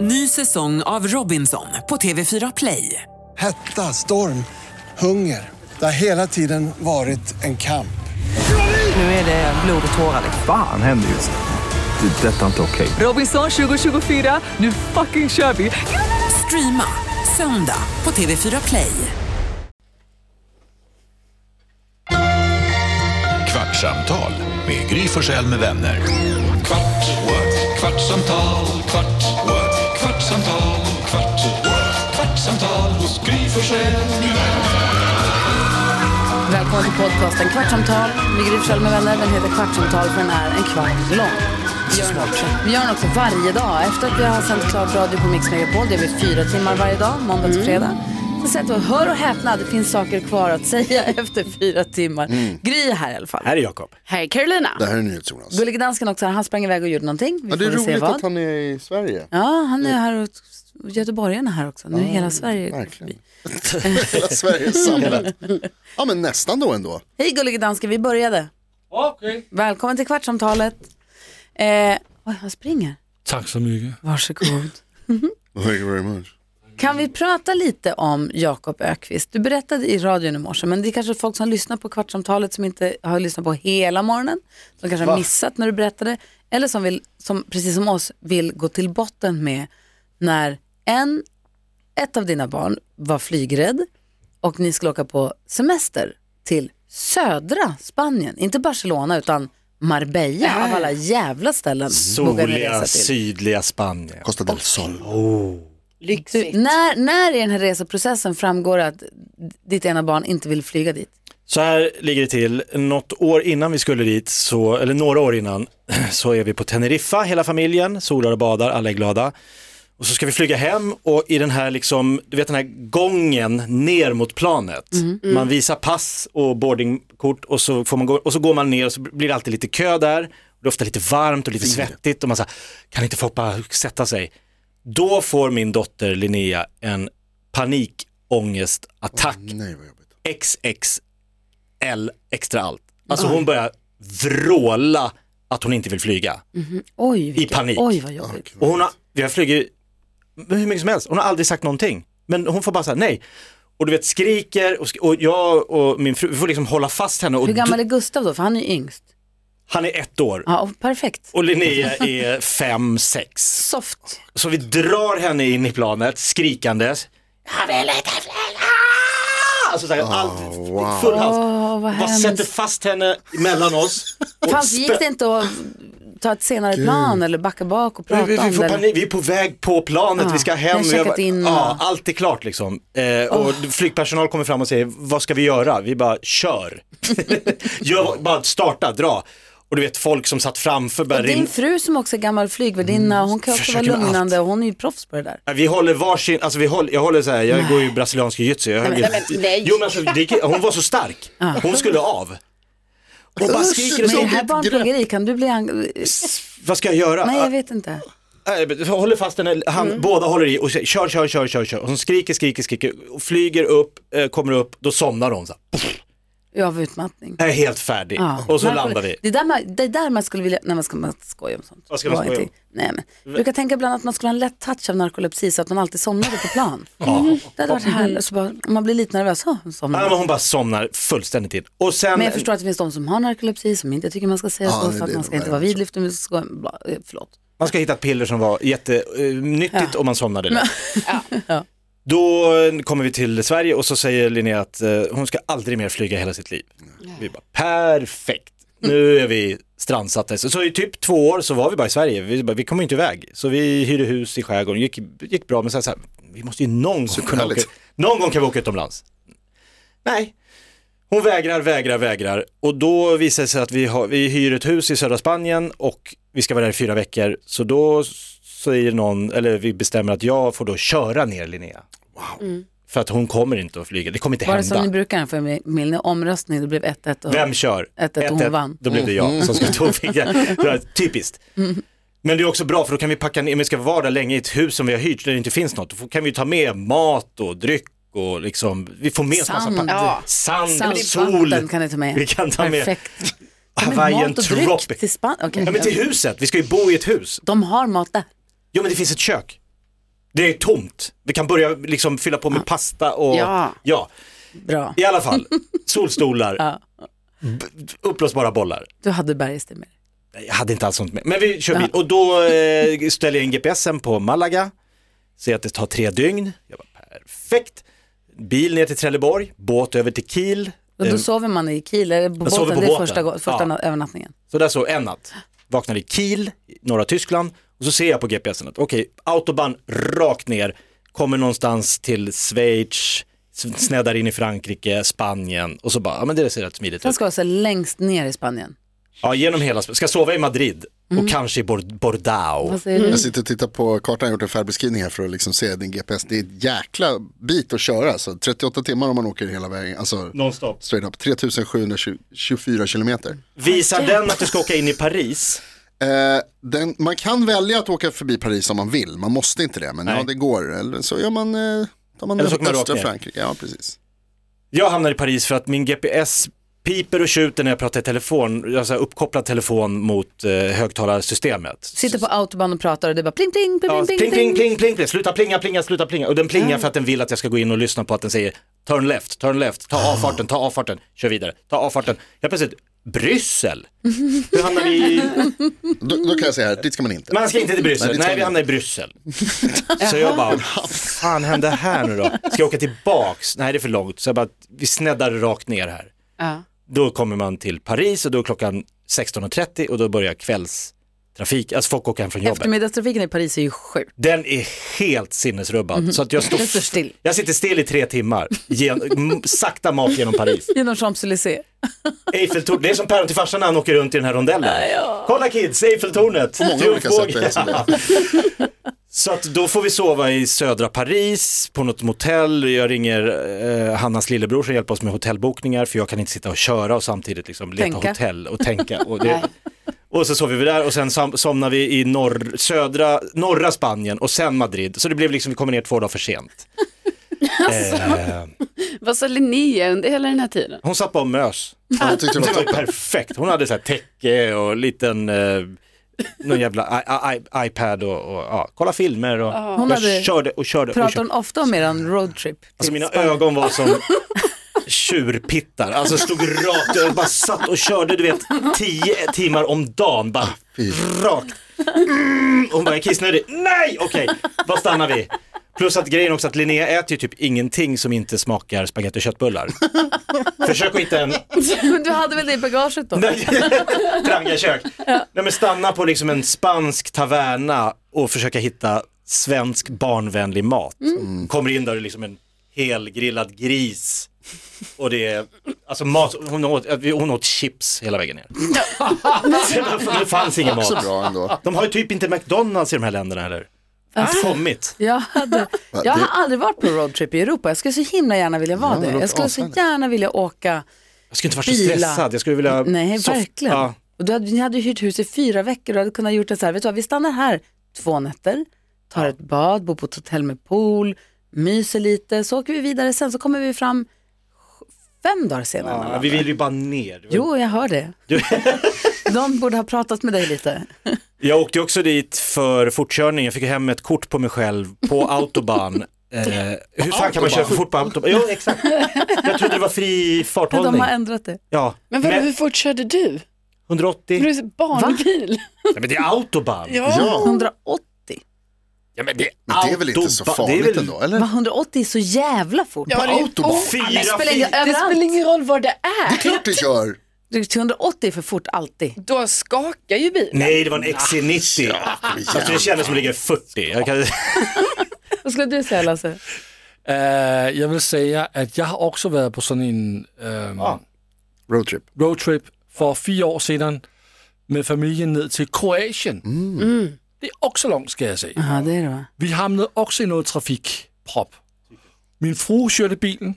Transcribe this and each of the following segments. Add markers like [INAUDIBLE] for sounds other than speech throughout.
Ny säsong av Robinson på TV4 Play. Hetta, storm, hunger. Det har hela tiden varit en kamp. Nu är det blod och tårar. Fan händer just nu. Det. är Detta är inte okej. Robinson 2024, nu fucking kör vi! Streama söndag på TV4 Play. Kvartsamtal med Gry Forssell med vänner. Kvart, what? kvartsamtal, kvart, what? kvartsamtal, kvart, what? kvartsamtal hos Gry Forssell med vänner. Välkommen till podcasten Kvartsamtal med Gry Forssell med vänner. Den heter Kvartsamtal för den är en kvart lång. Vi gör, den också, vi gör den också varje dag. Efter att vi har sänt klart radio på Mix Megapol, det blir fyra timmar varje dag, måndag Mm. till fredag. Så sätter vi, hör och häpna, det finns saker kvar att säga [LAUGHS] efter fyra timmar. Mm. Gry är här i alla fall. Här är Jakob. Hej Carolina. Det här är NyhetsJonas. Gullige dansken också, här. han sprang iväg och gjorde någonting. Vi Ja, det är får väl se roligt vad. att han är i Sverige. Ja, han är här och och göteborgarna här också. Nu är hela Sverige. [LAUGHS] Verkligen. Hela Sverige är samlat. Ja, men nästan då ändå. Hej gullige dansken, vi började. Välkommen till Kvartsamtalet. Eh, oj, han springer. Tack så mycket. Varsågod. Thank you very much. Kan vi prata lite om Jakob Ökvist? Du berättade i radion i morse, men det är kanske folk som lyssnar på Kvartsamtalet som inte har lyssnat på hela morgonen, som kanske har missat när du berättade, eller som, vill, som precis som oss vill gå till botten med när en, ett av dina barn var flygrädd och ni skulle åka på semester till södra Spanien, inte Barcelona utan Marbella av alla jävla ställen. vågar ni Soliga, resa till. sydliga Spanien. Costa del Mm. Sol. Du, när, när i den här reseprocessen framgår det att ditt ena barn inte vill flyga dit? Så här ligger det till. Något år innan vi skulle dit, så, eller några år innan, [CLEARS THROAT] så är vi på Teneriffa, hela familjen, solar och badar, alla är glada. Och så ska vi flyga hem och i den här, liksom, du vet den här gången ner mot planet. Mm. Man visar pass och boardingkort och så, får man gå, och så går man ner och så blir det alltid lite kö där. Det är ofta lite varmt och lite Mm. svettigt och man säger, kan inte få hoppa, sätta sig. Då får min dotter Linnea en panikångestattack Nej, vad jobbigt. XXL extra allt. Alltså hon börjar vråla att hon inte vill flyga. Oj, vilket, panik. Oj, vad jobbigt. Och hon har, vi har flugit hur mycket som helst, hon har aldrig sagt någonting. Men hon får bara säga nej. Och du vet skriker och, sk- och jag och min fru, vi får liksom hålla fast henne. Och Hur gammal du- är Gustav då? För han är ju yngst. Han är ett år Ja, och perfekt. och Linnea är fem, sex. Soft. Så vi drar henne in i planet skrikandes. Jag vill inte flyga! Alltså så här, allt, wow. full hals. Åh, vad Bara hemskt. sätter fast henne mellan oss. och Fanns, gick det inte att ta ett senare plan eller backa bak och prata vi, vi, om vi, får det? eller? panik, vi är på väg på planet, Ja, vi ska ni hem. har och jag checkat bara- in ja, och- allt är klart liksom. Eh, och Flygpersonal kommer fram och säger, vad ska vi göra? Vi bara, [LAUGHS] kör. Gör, bara starta, dra. Och du vet folk som satt framför Och började Din ringa. fru som också är gammal flygvärdinna, hon kan också vara Mm. Försöker med lugnande och hon är ju proffs på det där. Vi håller varsin, alltså vi håller, jag håller så här, jag går ju brasiliansk jujutsu. Jag höll ju- Jo men alltså, det, hon var så stark, hon skulle av. Och bara skriker och Men är det skriker, här barnplågeri, kan du bli... ang- vad ska jag göra? Nej, jag vet inte. Nej, men håller fast henne, han, Mm. båda håller i och säger, kör, kör, kör, kör, kör. Och hon skriker, skriker, skriker, och flyger upp, eh, kommer upp, då somnar hon. Så här, Jag är av utmattning. jag är helt färdig. Ja. Och så Man- landar vi. Det är där man, det är där man skulle vilja, nej man ska man skoja om sånt. Vad ska man Var skoja inte- Nej, men. Jag brukar tänka ibland att man skulle ha en lätt touch av narkolepsi så att man alltid somnade på [LAUGHS] plan. Mm. Det hade varit härligt, så bara, om man blir lite nervös, så somnar Ja, men man. hon bara somnar fullständigt in. Och sen, Men jag förstår att det finns de som har narkolepsi som inte tycker man ska säga Ja, så, det är för att det man ska de inte är vara också. vidlyftig. Men ska, bla, eh, förlåt. man ska hitta ett piller som var jättenyttigt och man somnade lätt. Ja. Då kommer vi till Sverige och så säger Linnea att eh, hon ska aldrig mer flyga hela sitt liv. Vi bara, perfekt, nu är vi strandsatta. Så, så i typ två år så var vi bara i Sverige, vi, bara, vi kom ju inte iväg. Så vi hyrde hus i skärgården, gick, gick bra men sen så här, vi måste ju någon, som kunna åka, härligt. någon gång kan vi åka utomlands. Nej, hon vägrar, vägrar, vägrar. Och då visar det sig att vi, har, vi hyr ett hus i södra Spanien och vi ska vara där i fyra veckor. Så då säger någon, eller vi bestämmer att jag får då köra ner Linnea. För att hon kommer inte att flyga, det kommer inte Bara Mm. som hända. ni brukar den för min omröstning, det blev 1-1. och- Vem kör? Ett, ett, hon Ett, ett. vann. Mm. Då blev det jag som skulle ta och [LAUGHS] flyga. Det var Typiskt. Men det är också bra för då kan vi packa ner, om vi ska vara där länge i ett hus som vi har hyrt där det inte finns något, då kan vi ta med mat och dryck och liksom, vi får med oss massa Sand. pack- Ja. sand, Sand, sol. vatten kan ni ta med. Vi kan ta med Perfekt. Ta med Hawaiian mat och dryck tropic. till Span- okej. Ja men till huset, vi ska ju bo i ett hus. De har mat där. Jo men det finns ett kök. Det är tomt. Vi kan börja liksom fylla på med pasta och Ja. ja. Bra. I [LAUGHS] alla fall, solstolar, Ja. b- uppblåsbara bollar. Du hade bergstig med dig. Nej, Jag hade inte alls sånt med. Men vi kör bil och då eh, ställer jag in GPSen på Malaga. Ser att det tar tre dygn. Jag bara, perfekt. Bil ner till Trelleborg, båt över till Kiel. Och då Eh, sover man i Kiel, eller på båten, sover på det är båten. första, go- första Ja. na- övernattningen. Så där sov en natt. Vaknade i Kiel, i norra Tyskland. Och så ser jag på GPSen att okej, autobahn rakt ner. Kommer någonstans till Schweiz, s- sneddar in i Frankrike, Spanien. Och så bara, ja men det ser rätt smidigt Sen ut. ska jag så längst ner i Spanien. Ja, genom hela, Sp- ska sova i Madrid. Och kanske i Bor- Bordeaux. Mm. Vad säger du? Jag sitter och tittar på kartan, jag har gjort en färdbeskrivning här för att liksom se din GPS. Det är ett jäkla bit att köra, så 38 timmar om man åker hela vägen. Alltså, Nonstop. straight up, 3724 kilometer. Visar den att du ska åka in i Paris? Eh, den, man kan välja att åka förbi Paris om man vill, man måste inte det, men Nej. ja, det går. Eller så gör man, eh, tar man Eller så åker man östra rakt ner. Frankrike. Ja, precis. Jag hamnar i Paris för att min GPS piper och tjuter när jag pratar i telefon, alltså uppkopplad telefon mot eh, högtalarsystemet. Sitter på autobahn och pratar och det är bara pling, pling, pling, Ja, pling, pling, pling, pling, pling, pling, sluta plinga, plinga, sluta plinga. Och den plingar för att den vill att jag ska gå in och lyssna på att den säger turn left, turn left, ta avfarten, ta avfarten, kör vidare, ta avfarten. Jag plötsligt, Bryssel? Hur hamnar vi i... Då, då kan jag säga här, dit ska man inte. Man ska inte till Bryssel, Nej, nej, det tar vi vi. hamnar i Bryssel. så jag bara, vad fan hände här nu då? Ska jag åka tillbaks? Nej det är för långt, så jag bara, vi sneddar rakt ner här. Ja. Då kommer man till Paris och då är klockan 16.30 och då börjar kvällstrafik, alltså folk åker hem från jobbet. Eftermiddagstrafiken i Paris är ju sjuk. Den är helt sinnesrubbad. Så att jag, står, Mhm. Den står still. jag sitter still i tre timmar, gen, m- sakta mat genom Paris. Genom Champs-Élysées. Eiffeltornet, det är som päron till farsan när han åker runt i den här rondellen. Kolla kids, Eiffeltornet, många olika sätt är det som Ja. Så att då får vi sova i södra Paris på något motell. Jag ringer eh, Hannas lillebror som hjälper oss med hotellbokningar för jag kan inte sitta och köra och samtidigt liksom leta Tänka. hotell och tänka. Och, det, och så sover vi där och sen som, somnar vi i norr, södra, norra Spanien och sen Madrid. Så det blev liksom, vi kommer ner två dagar för sent. eh, Vad sa Linnea under hela den här tiden? hon satt bara och mös. Ja, jag tyckte det Det var [LAUGHS] var ju toppen. perfekt. Hon hade så här täcke och liten, eh, någon jävla I, I, I, iPad och, och ja, kolla filmer och Hon jag hade- körde och körde och Pratar körde. hon ofta om eran roadtrip? Typ? till Alltså mina Spanien? ögon var som [LAUGHS] tjurpittar, alltså stod rakt, jag bara satt och körde du vet tio timmar om dagen Ah, bara Fy. rakt. Mm, hon bara, jag är kissnödig. Nej, okej, var stannar vi? Plus att grejen också att Linnea äter ju typ ingenting som inte smakar spagetti och köttbullar. [LAUGHS] Försök att hitta en Men du hade väl det i bagaget då? [LAUGHS] Nej, Trangakök. Nej men stanna på liksom en spansk taverna och försöka hitta svensk barnvänlig mat. Mm. Mm. Kommer in där det är liksom en helgrillad gris och det är, alltså mat, hon åt, hon åt chips hela vägen ner. [LAUGHS] det fanns ingen Också mat. bra ändå. De har ju typ inte McDonalds i de här länderna heller. Inte kommit. Jag, hade, jag har aldrig varit på en roadtrip i Europa. Jag skulle så himla gärna vilja vara Ja, det det. låter Jag skulle så ashärligt. gärna vilja åka. Jag skulle inte varit så Bila. stressad, jag skulle vilja... Nej, soft- verkligen. Ja. Och du hade, ni hade ju hyrt hus i fyra veckor och hade kunnat gjort det så här. Vet du vad, vi stannar här två nätter, tar ett bad, bor på ett hotell med pool, myser lite, så åker vi vidare sen så kommer vi fram fem dagar senare. eller Ja, vad? vi vill ju bara ner. Jo, jag hör det. Du- [LAUGHS] De borde ha pratat med dig lite. Jag åkte också dit för fortkörning, jag fick hem ett kort på mig själv [LAUGHS] på autobahn. Eh, hur fan kan man köra för fort på autobahn? Ja, exakt. Jag trodde det var fri farthållning. De har ändrat det. Ja, Men vadå, Men- hur fort körde du? 180. Du är barnbil. Nej, men det är autobahn. Ja, 180. Ja, men det är, men det är väl inte så autobahn. Det är väl farligt ändå, eller? Va, 180 är så jävla fort. Ja, det är- autobahn. Åh, Fyra det spelar fil. ingen- Det spelar ingen roll var det är. Klart du kör. Det är 180 är för fort alltid. Då skakar ju bilen. Nej, det var en XC90. Alltså, det kändes som att ligga i 40. Jag kan... Vad skulle du säga Lasse? Uh, jeg vil sige, at jeg har også været på sådan en øhm, Roadtrip. roadtrip for fire år siden med familien ned til Kroatien. Mm. Det er også langt, skal jeg sige. Ja, det är det va? Vi hamnede også i noget trafikprop. Min frue kørte bilen.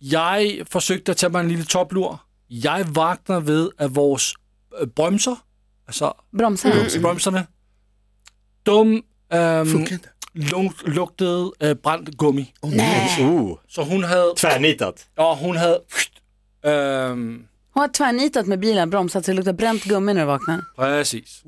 Jeg forsøgte at tage mig en lille toplur. Jeg vagter ved, at vores øh, bremser, altså Bromsa. bremserne, dum Mm. øhm, Funkar inte. lunk- lugtede øh, brændt gummi. Mm. [LAUGHS] oh, Så hun havde tvärnitat. Ja, hon hade... Øhm, Hon har tvärnitat med bilen, bromsat så det luktar bränt gummi när du vaknar. precis.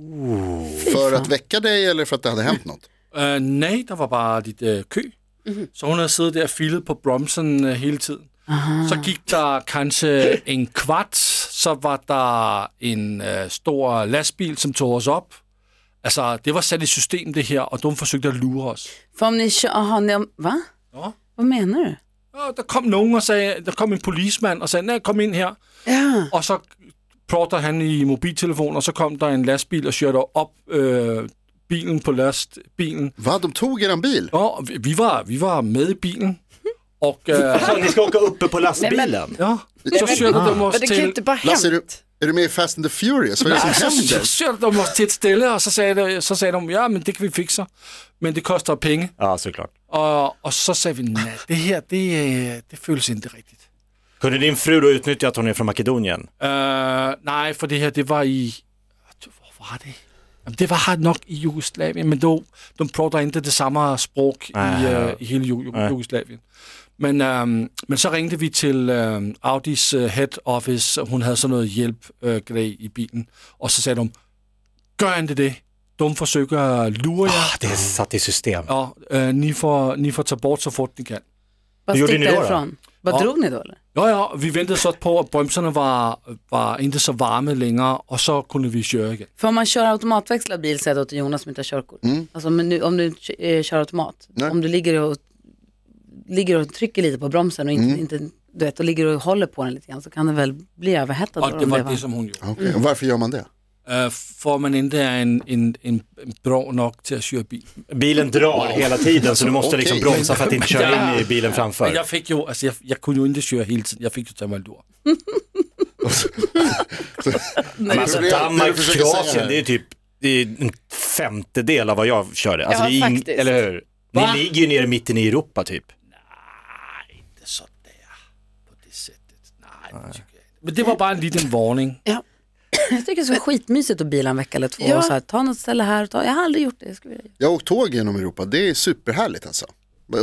För att väcka dig eller för att det hade hänt något? Øh, nej, der var bare lidt øh, kø. Mm-hmm. Så hun havde siddet der og filet på bromsen øh, hele tiden. Aha. Så gik der kanskje en kvart, så var der en øh, stor lastbil, som tog os op. Altså, det var sat i system, det her, og de forsøgte at lure os. För om ni kör, aha, ni, om, va? Ja. Vad menar du? Og der kom nogen og sagde, der kom en polismand og sagde, nej, kom ind her. Ja. Og så plotter han i mobiltelefonen, og så kom der en lastbil og kørte op øh, bilen på lastbilen. Vad, de tog eran bil? Ja, og vi- vi var, vi var med i [LAUGHS] bilen. Och, eh, Så ni ska åka uppe på lastbilen? ja, så körde de oss Men det kan ju till... inte bara Lasse, är du, hänt. är du med i Fast and the Furious? Vad är det som Så Alltså, händer? körde de oss till ett ställe och så sa, de, så sa de, ja men det kan vi fixa. Men det kostar pengar. Ja, såklart. Och, och så sa vi, nej det här det, eh, det följs inte riktigt. Kunde din fru då utnyttja att hon är från Makedonien? Eh, nej, for det her, det var i... Hvor var det? Jamen, det var nok i Jugoslavien, men då, de prater ikke det samme sprog i, Nej. øh, i hele Ju- Ju- Jugoslavien. Men, øhm, men så ringte vi til øhm, Audis øh, head office, og hun havde sådan noget hjælp øh, grej i bilen, og så sagde de, gør ikke det, de forsøger at lure jer, Ah, det är satt i system. og øh, ni, får, ni får tage bort så fort ni kan. Vad gjorde stick ni då, då? därifrån? Vad Ja. drog ni då eller? Jo, ja, og vi ventede så på, at bremserne var, var ikke så varme længere, og så kunne vi køre igen. För om man kör automatväxlad bil, säger jag då till Jonas som inte har körkort. Mm. Alltså men nu, om du eh, kör automat, Nej. om du ligger och, ligger och trykker lite på bromsen och inte, Mm. inte du vet, och ligger och håller på den lite grann så kan den väl bli överhettad. då, Og det om var var- det, som hun gjorde. Okej, och Varför gör man det? Uh, for man ikke er en, en, en, en bra nok til at køre bil. Bilen drar hela tiden så du måste liksom Okej. bromsa för att inte köra in i bilen Men framför. jeg fik jo, altså jeg, jeg kunne jo ikke køre hele tiden. Jeg fik jo tage mig en lur. Men Det alltså är det jag Danmark, försöker säga Kroatien, här. det är typ det är en femtedel av vad jag körde. Alltså, Ja, det är ing- faktiskt. eller hur? Ni Va? ligger ju nere mitten i Europa typ. Så der, på det sættet. Nej, det tycker jeg ikke. Men det var bare en liten varning. Jag tycker det skulle vara skitmysigt att bila en vecka eller två Ja. och så här, ta något ställe här och ta, jag har aldrig gjort det. Jag skulle vilja göra. Jag har åkt tåg genom Europa, det är superhärligt alltså.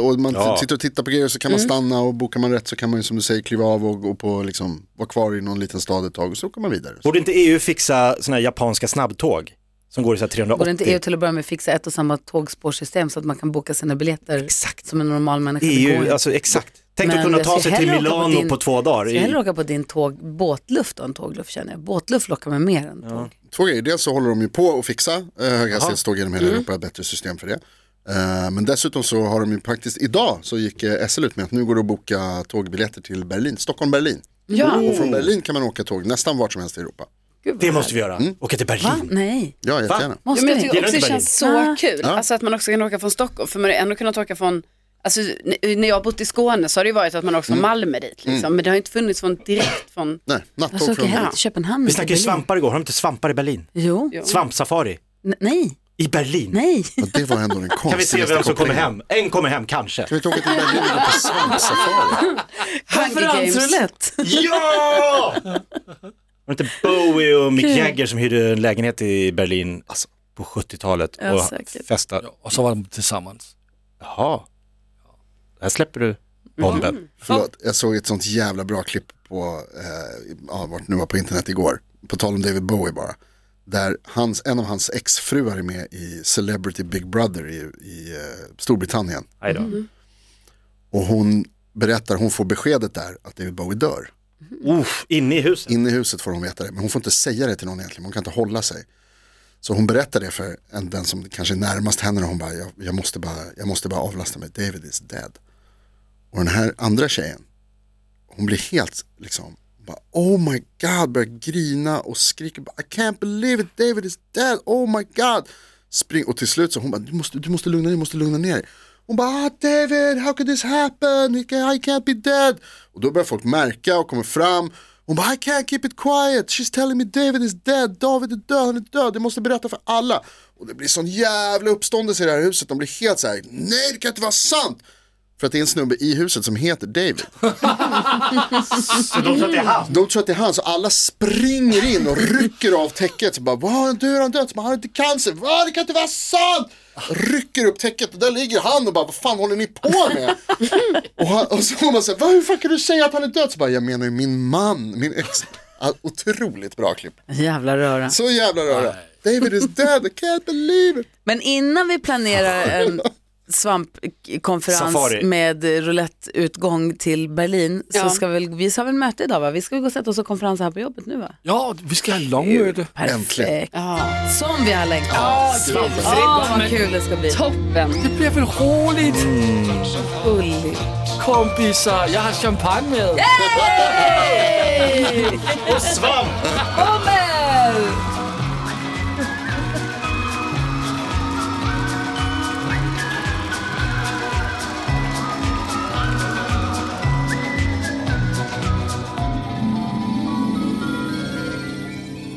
Och man Ja. sitter och tittar på grejer så kan man stanna och bokar man rätt så kan man ju som du säger kliva av och gå på liksom, vara kvar i någon liten stad ett tag och så åker man vidare. Borde inte EU fixa sådana här japanska snabbtåg? Som går i så här 380? Borde inte E EU till att börja med fixa ett och samma tågspårsystem så att man kan boka sina biljetter Exakt. som en normal människa? Det går EU, inte. alltså exakt. Tänk att Men kunna jag ta ska sig till hellre åka på Milano på, din- två dagar. Så jag hellre I, åka på din tåg, båtluft än tågluft känner jag. Båtluft lockar mig mer än tåg. Två grejer, dels så håller de ju på att fixa eh, höghastighetståg genom hela Mm. Europa, bättre system för det. Eh, men dessutom så har de ju faktiskt, idag så gick eh, SL ut med att nu går det att boka tågbiljetter till Berlin, Stockholm-Berlin. Ja, Och Oh. från Berlin kan man åka tåg nästan vart som helst i Europa. det måste vi göra. Åka till Berlin. Va? Nej. Ja, jättegärna. Ja, Måste men jag vi? tycker också Gillar det du känns Berlin? så kul. Alltså att man också kan åka från Stockholm. För man har ändå kunnat åka från, alltså n- när jag har bott i Skåne så har det ju varit att man åkt från Malmö dit liksom. Men det har ju inte funnits från direkt från, Nej, nattåg Alltså åka från hem till Köpenhamn. Vi till snackade ju Berlin. svampar igår, har de inte svampar i Berlin? Jo. Jo. Svampsafari N- Nej, i Berlin. nej. Ja, det var ändå den Kan vi konstigaste se vem som kommer kopplingen. hem? En kommer hem kanske. Kan vi inte åka till Berlin och gå på svampsafari? Hunger Games. Ja! Var det inte Bowie och Mick Jagger som hyrde en lägenhet i Berlin Alltså. på 70-talet Ja, och säkert. festade? Og så var de tillsammans. Jaha. Där släpper du bomben. Förlåt, jag såg ett sånt jävla bra klipp på, eh, ja, vart nu var på internet igår. På tal om David Bowie bara. Där hans, en av hans exfruar är med i Celebrity Big Brother i, i eh, Storbritannien. Aj då. Och hon berättar, hon får beskedet där att David Bowie dör. Mm. Uff, inne i huset. Inne i huset får hon veta det, men hon får inte säga det till någon egentligen, hon kan inte hålla sig. Så hon berättar det för en, den som kanske är närmast henne och hon bara jag, jag, måste bara, jag måste bara avlasta mig, David is dead. Och den här andra tjejen, hon blir helt liksom, bara, oh my god, börjar grina och skriker, bara, I can't believe it, David is dead, oh my god. Spring, och till slut så hon bara, du måste, du måste lugna ner dig, du måste lugna ner dig. Hon bara, ah, David, how could this happen, I can't, I can't be dead. Och då börjar folk märka och kommer fram. Hon bara, I can't keep it quiet, she's telling me David is dead, David är död, han är död, jag måste berätta för alla. Och det blir sån jävla uppståndelse i det här huset, de blir helt så här, nej det kan inte vara sant. För att det är en snubbe i huset som heter David. Så de tror att det är han. De tror att det är han, så alla springer in och rycker av täcket. Så bara, vad du har han dött? Så bara, Han har inte cancer, va? Det kan inte vara sant! Rycker upp täcket och där ligger han och bara, vad fan håller ni på med? och, han, och så hon bara, så här, "Va, hur fan kan du säga att han är död? Så bara, jag menar ju min man, min ex. Ah, Otroligt bra klipp. Jävla röra. Så jävla röra. David is dead, I can't believe it. Men innan vi planerar en svampkonferens Safari. med rouletteutgång till Berlin så Ja. ska vi, väl- vi har väl möte idag va? Vi ska väl gå och sätta oss och konferensa här på jobbet nu va? Ja, vi ska ha långmöte. Perfekt. Ja. Som vi har längtat. Åh, vad kul det ska bli. Toppen. Det blir väl roligt Gulligt. kompisar, jag har champagne med.